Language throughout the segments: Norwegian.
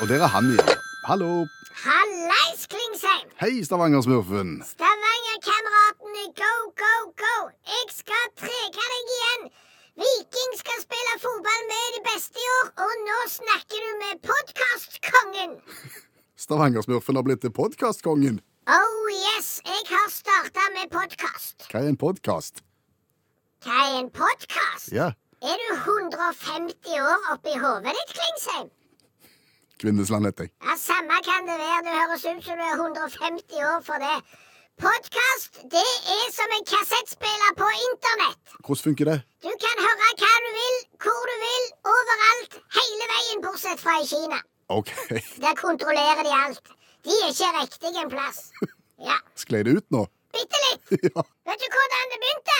Og der er han igjen. Hallo. Hallais, Klingsheim! Hei, Stavanger-smurfen. Stavanger-kameratene, go, go, go! Jeg skal treke deg igjen! Viking skal spille fotball med de beste i år, og nå snakker du med podkastkongen! Stavanger-smurfen har blitt til podkastkongen. Oh yes, jeg har starta med podkast. Hva er en podkast? Hva er en podkast? Ja. Er du 150 år oppi hodet ditt, Klingsheim? Kvinnesland heter jeg. Ja, Samme kan det være. Du høres ut som du er 150 år for det. Podkast, det er som en kassettspiller på internett. Hvordan funker det? Du kan høre hva du vil, hvor du vil, overalt, hele veien bortsett fra i Kina. OK. Der kontrollerer de alt. De er ikke riktig en plass. Ja, Sklei det ut nå? bitte litt. ja. Vet du hvordan det begynte?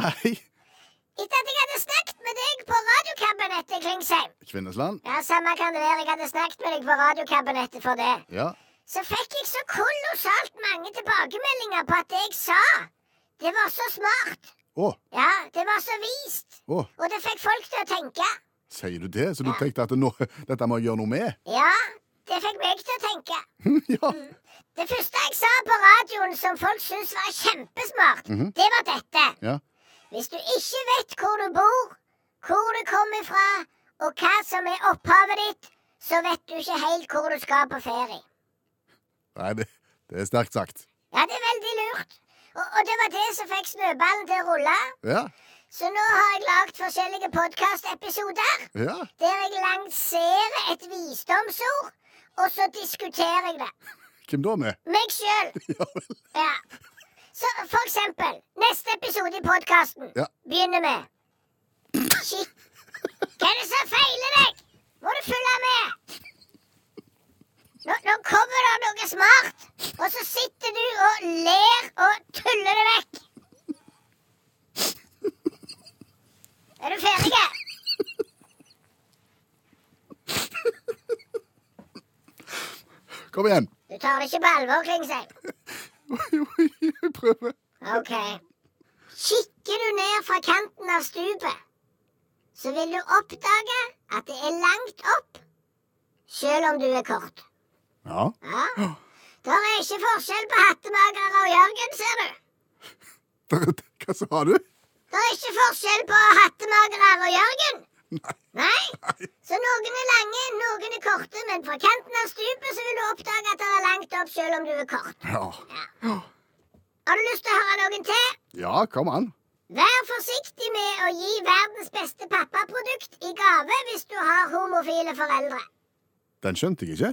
Nei. Etter at jeg hadde snakket med deg på radiokabinettet, Klingsheim. Kvinnesland? Ja, samme kan det være. Jeg hadde snakket med deg på radiokabinettet for det. Ja. så fikk jeg så kolossalt mange tilbakemeldinger på at det jeg sa, det var så smart. Å, Ja, det var så vist. å. Og det fikk folk til å tenke. Sier du det? Så du tenkte at nå, dette må jeg gjøre noe med? Ja, det fikk meg til å tenke. ja. Det første jeg sa på radioen som folk syntes var kjempesmart, det var dette. ja. Hvis du ikke vet hvor du bor, hvor du kommer fra, og hva som er opphavet ditt, så vet du ikke helt hvor du skal på ferie. Nei, det, det er sterkt sagt. Ja, det er veldig lurt. Og, og det var det som fikk snøballen til å rulle. Ja. Så nå har jeg lagd forskjellige podkastepisoder Ja. der jeg lanserer et visdomsord, og så diskuterer jeg det. Hvem da med? Meg sjøl. Ja vel. Ja. Så for eksempel, neste episode i podkasten Ja. begynner med Shit. Hva er det som feiler deg? Må du følge med? Nå, nå kommer det noe smart, og så sitter du og ler og tuller det vekk. Er du ferdig? Kom igjen. Du tar det ikke på alvor, Klingsheim? Jeg prøver. Ok. Kikker du ned fra kanten av stupet, så vil du oppdage at det er langt opp, selv om du er kort. Ja. Ja. Der er ikke forskjell på hattemagere og Jørgen, ser du. Hva sa du? Der er ikke forskjell på hattemagere og Jørgen. Nei. Nei? Så noen er lange, noen er korte, men fra kanten av stupet så vil du oppdage at det er langt opp, selv om du er kort. Ja. Har du lyst til å høre noen til? ja, kom an. Vær forsiktig med å gi verdens beste pappaprodukt i gave hvis du har homofile foreldre. Den skjønte jeg ikke.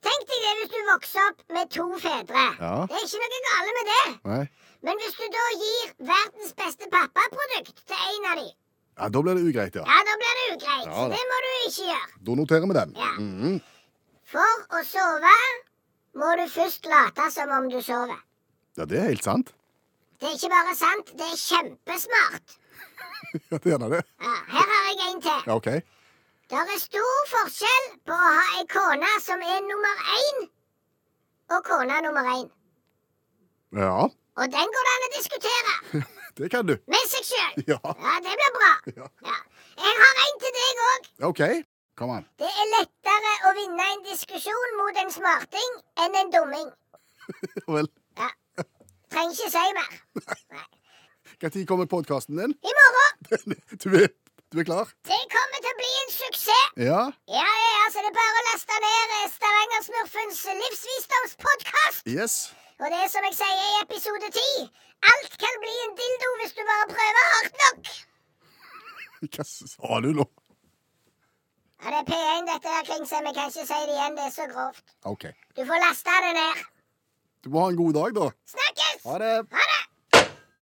Tenk deg det hvis du vokser opp med to fedre. Ja. Det er ikke noe gale med det. Nei. Men hvis du da gir verdens beste pappaprodukt til en av dem, Ja, Da blir det ugreit, ja. ja, da blir det ugreit. Ja Så da. det må du ikke gjøre. Da noterer vi den. Ja. Mhm. For å sove må du først late som om du sover. Ja, det er helt sant. Det er ikke bare sant, det er kjempesmart. Ja, det er da det. Ja, her har jeg en til. Ja, OK. Det er stor forskjell på å ha ei kone som er nummer én, og kona nummer én. Ja, Og den går det an å diskutere det kan du. med seg sjøl. Ja. Ja, det blir bra. Ja. Ja. Jeg har en til deg òg. OK. Kom an. Det er lettere å vinne en diskusjon mot en smarting enn en dumming. Ja vel. Ja. Trenger ikke si mer. Når kommer podkasten din? I morgen. Du er, du er klar? Det kommer til å bli en suksess. Ja? Ja, ja, altså, det er bare å laste ned eh, Stavangersmurfens livsvisdomspodkast. Yes. Og det er som jeg sier i episode ti, alt kan bli en dildo hvis du bare prøver hardt nok. Hva sa du nå? Ja, det er P1 dette her, Klingsheim. Jeg kan ikke si det igjen, det er så grovt. OK. Du får laste det ned. Du må ha en god dag, da. Snakkes! Ha det. Ha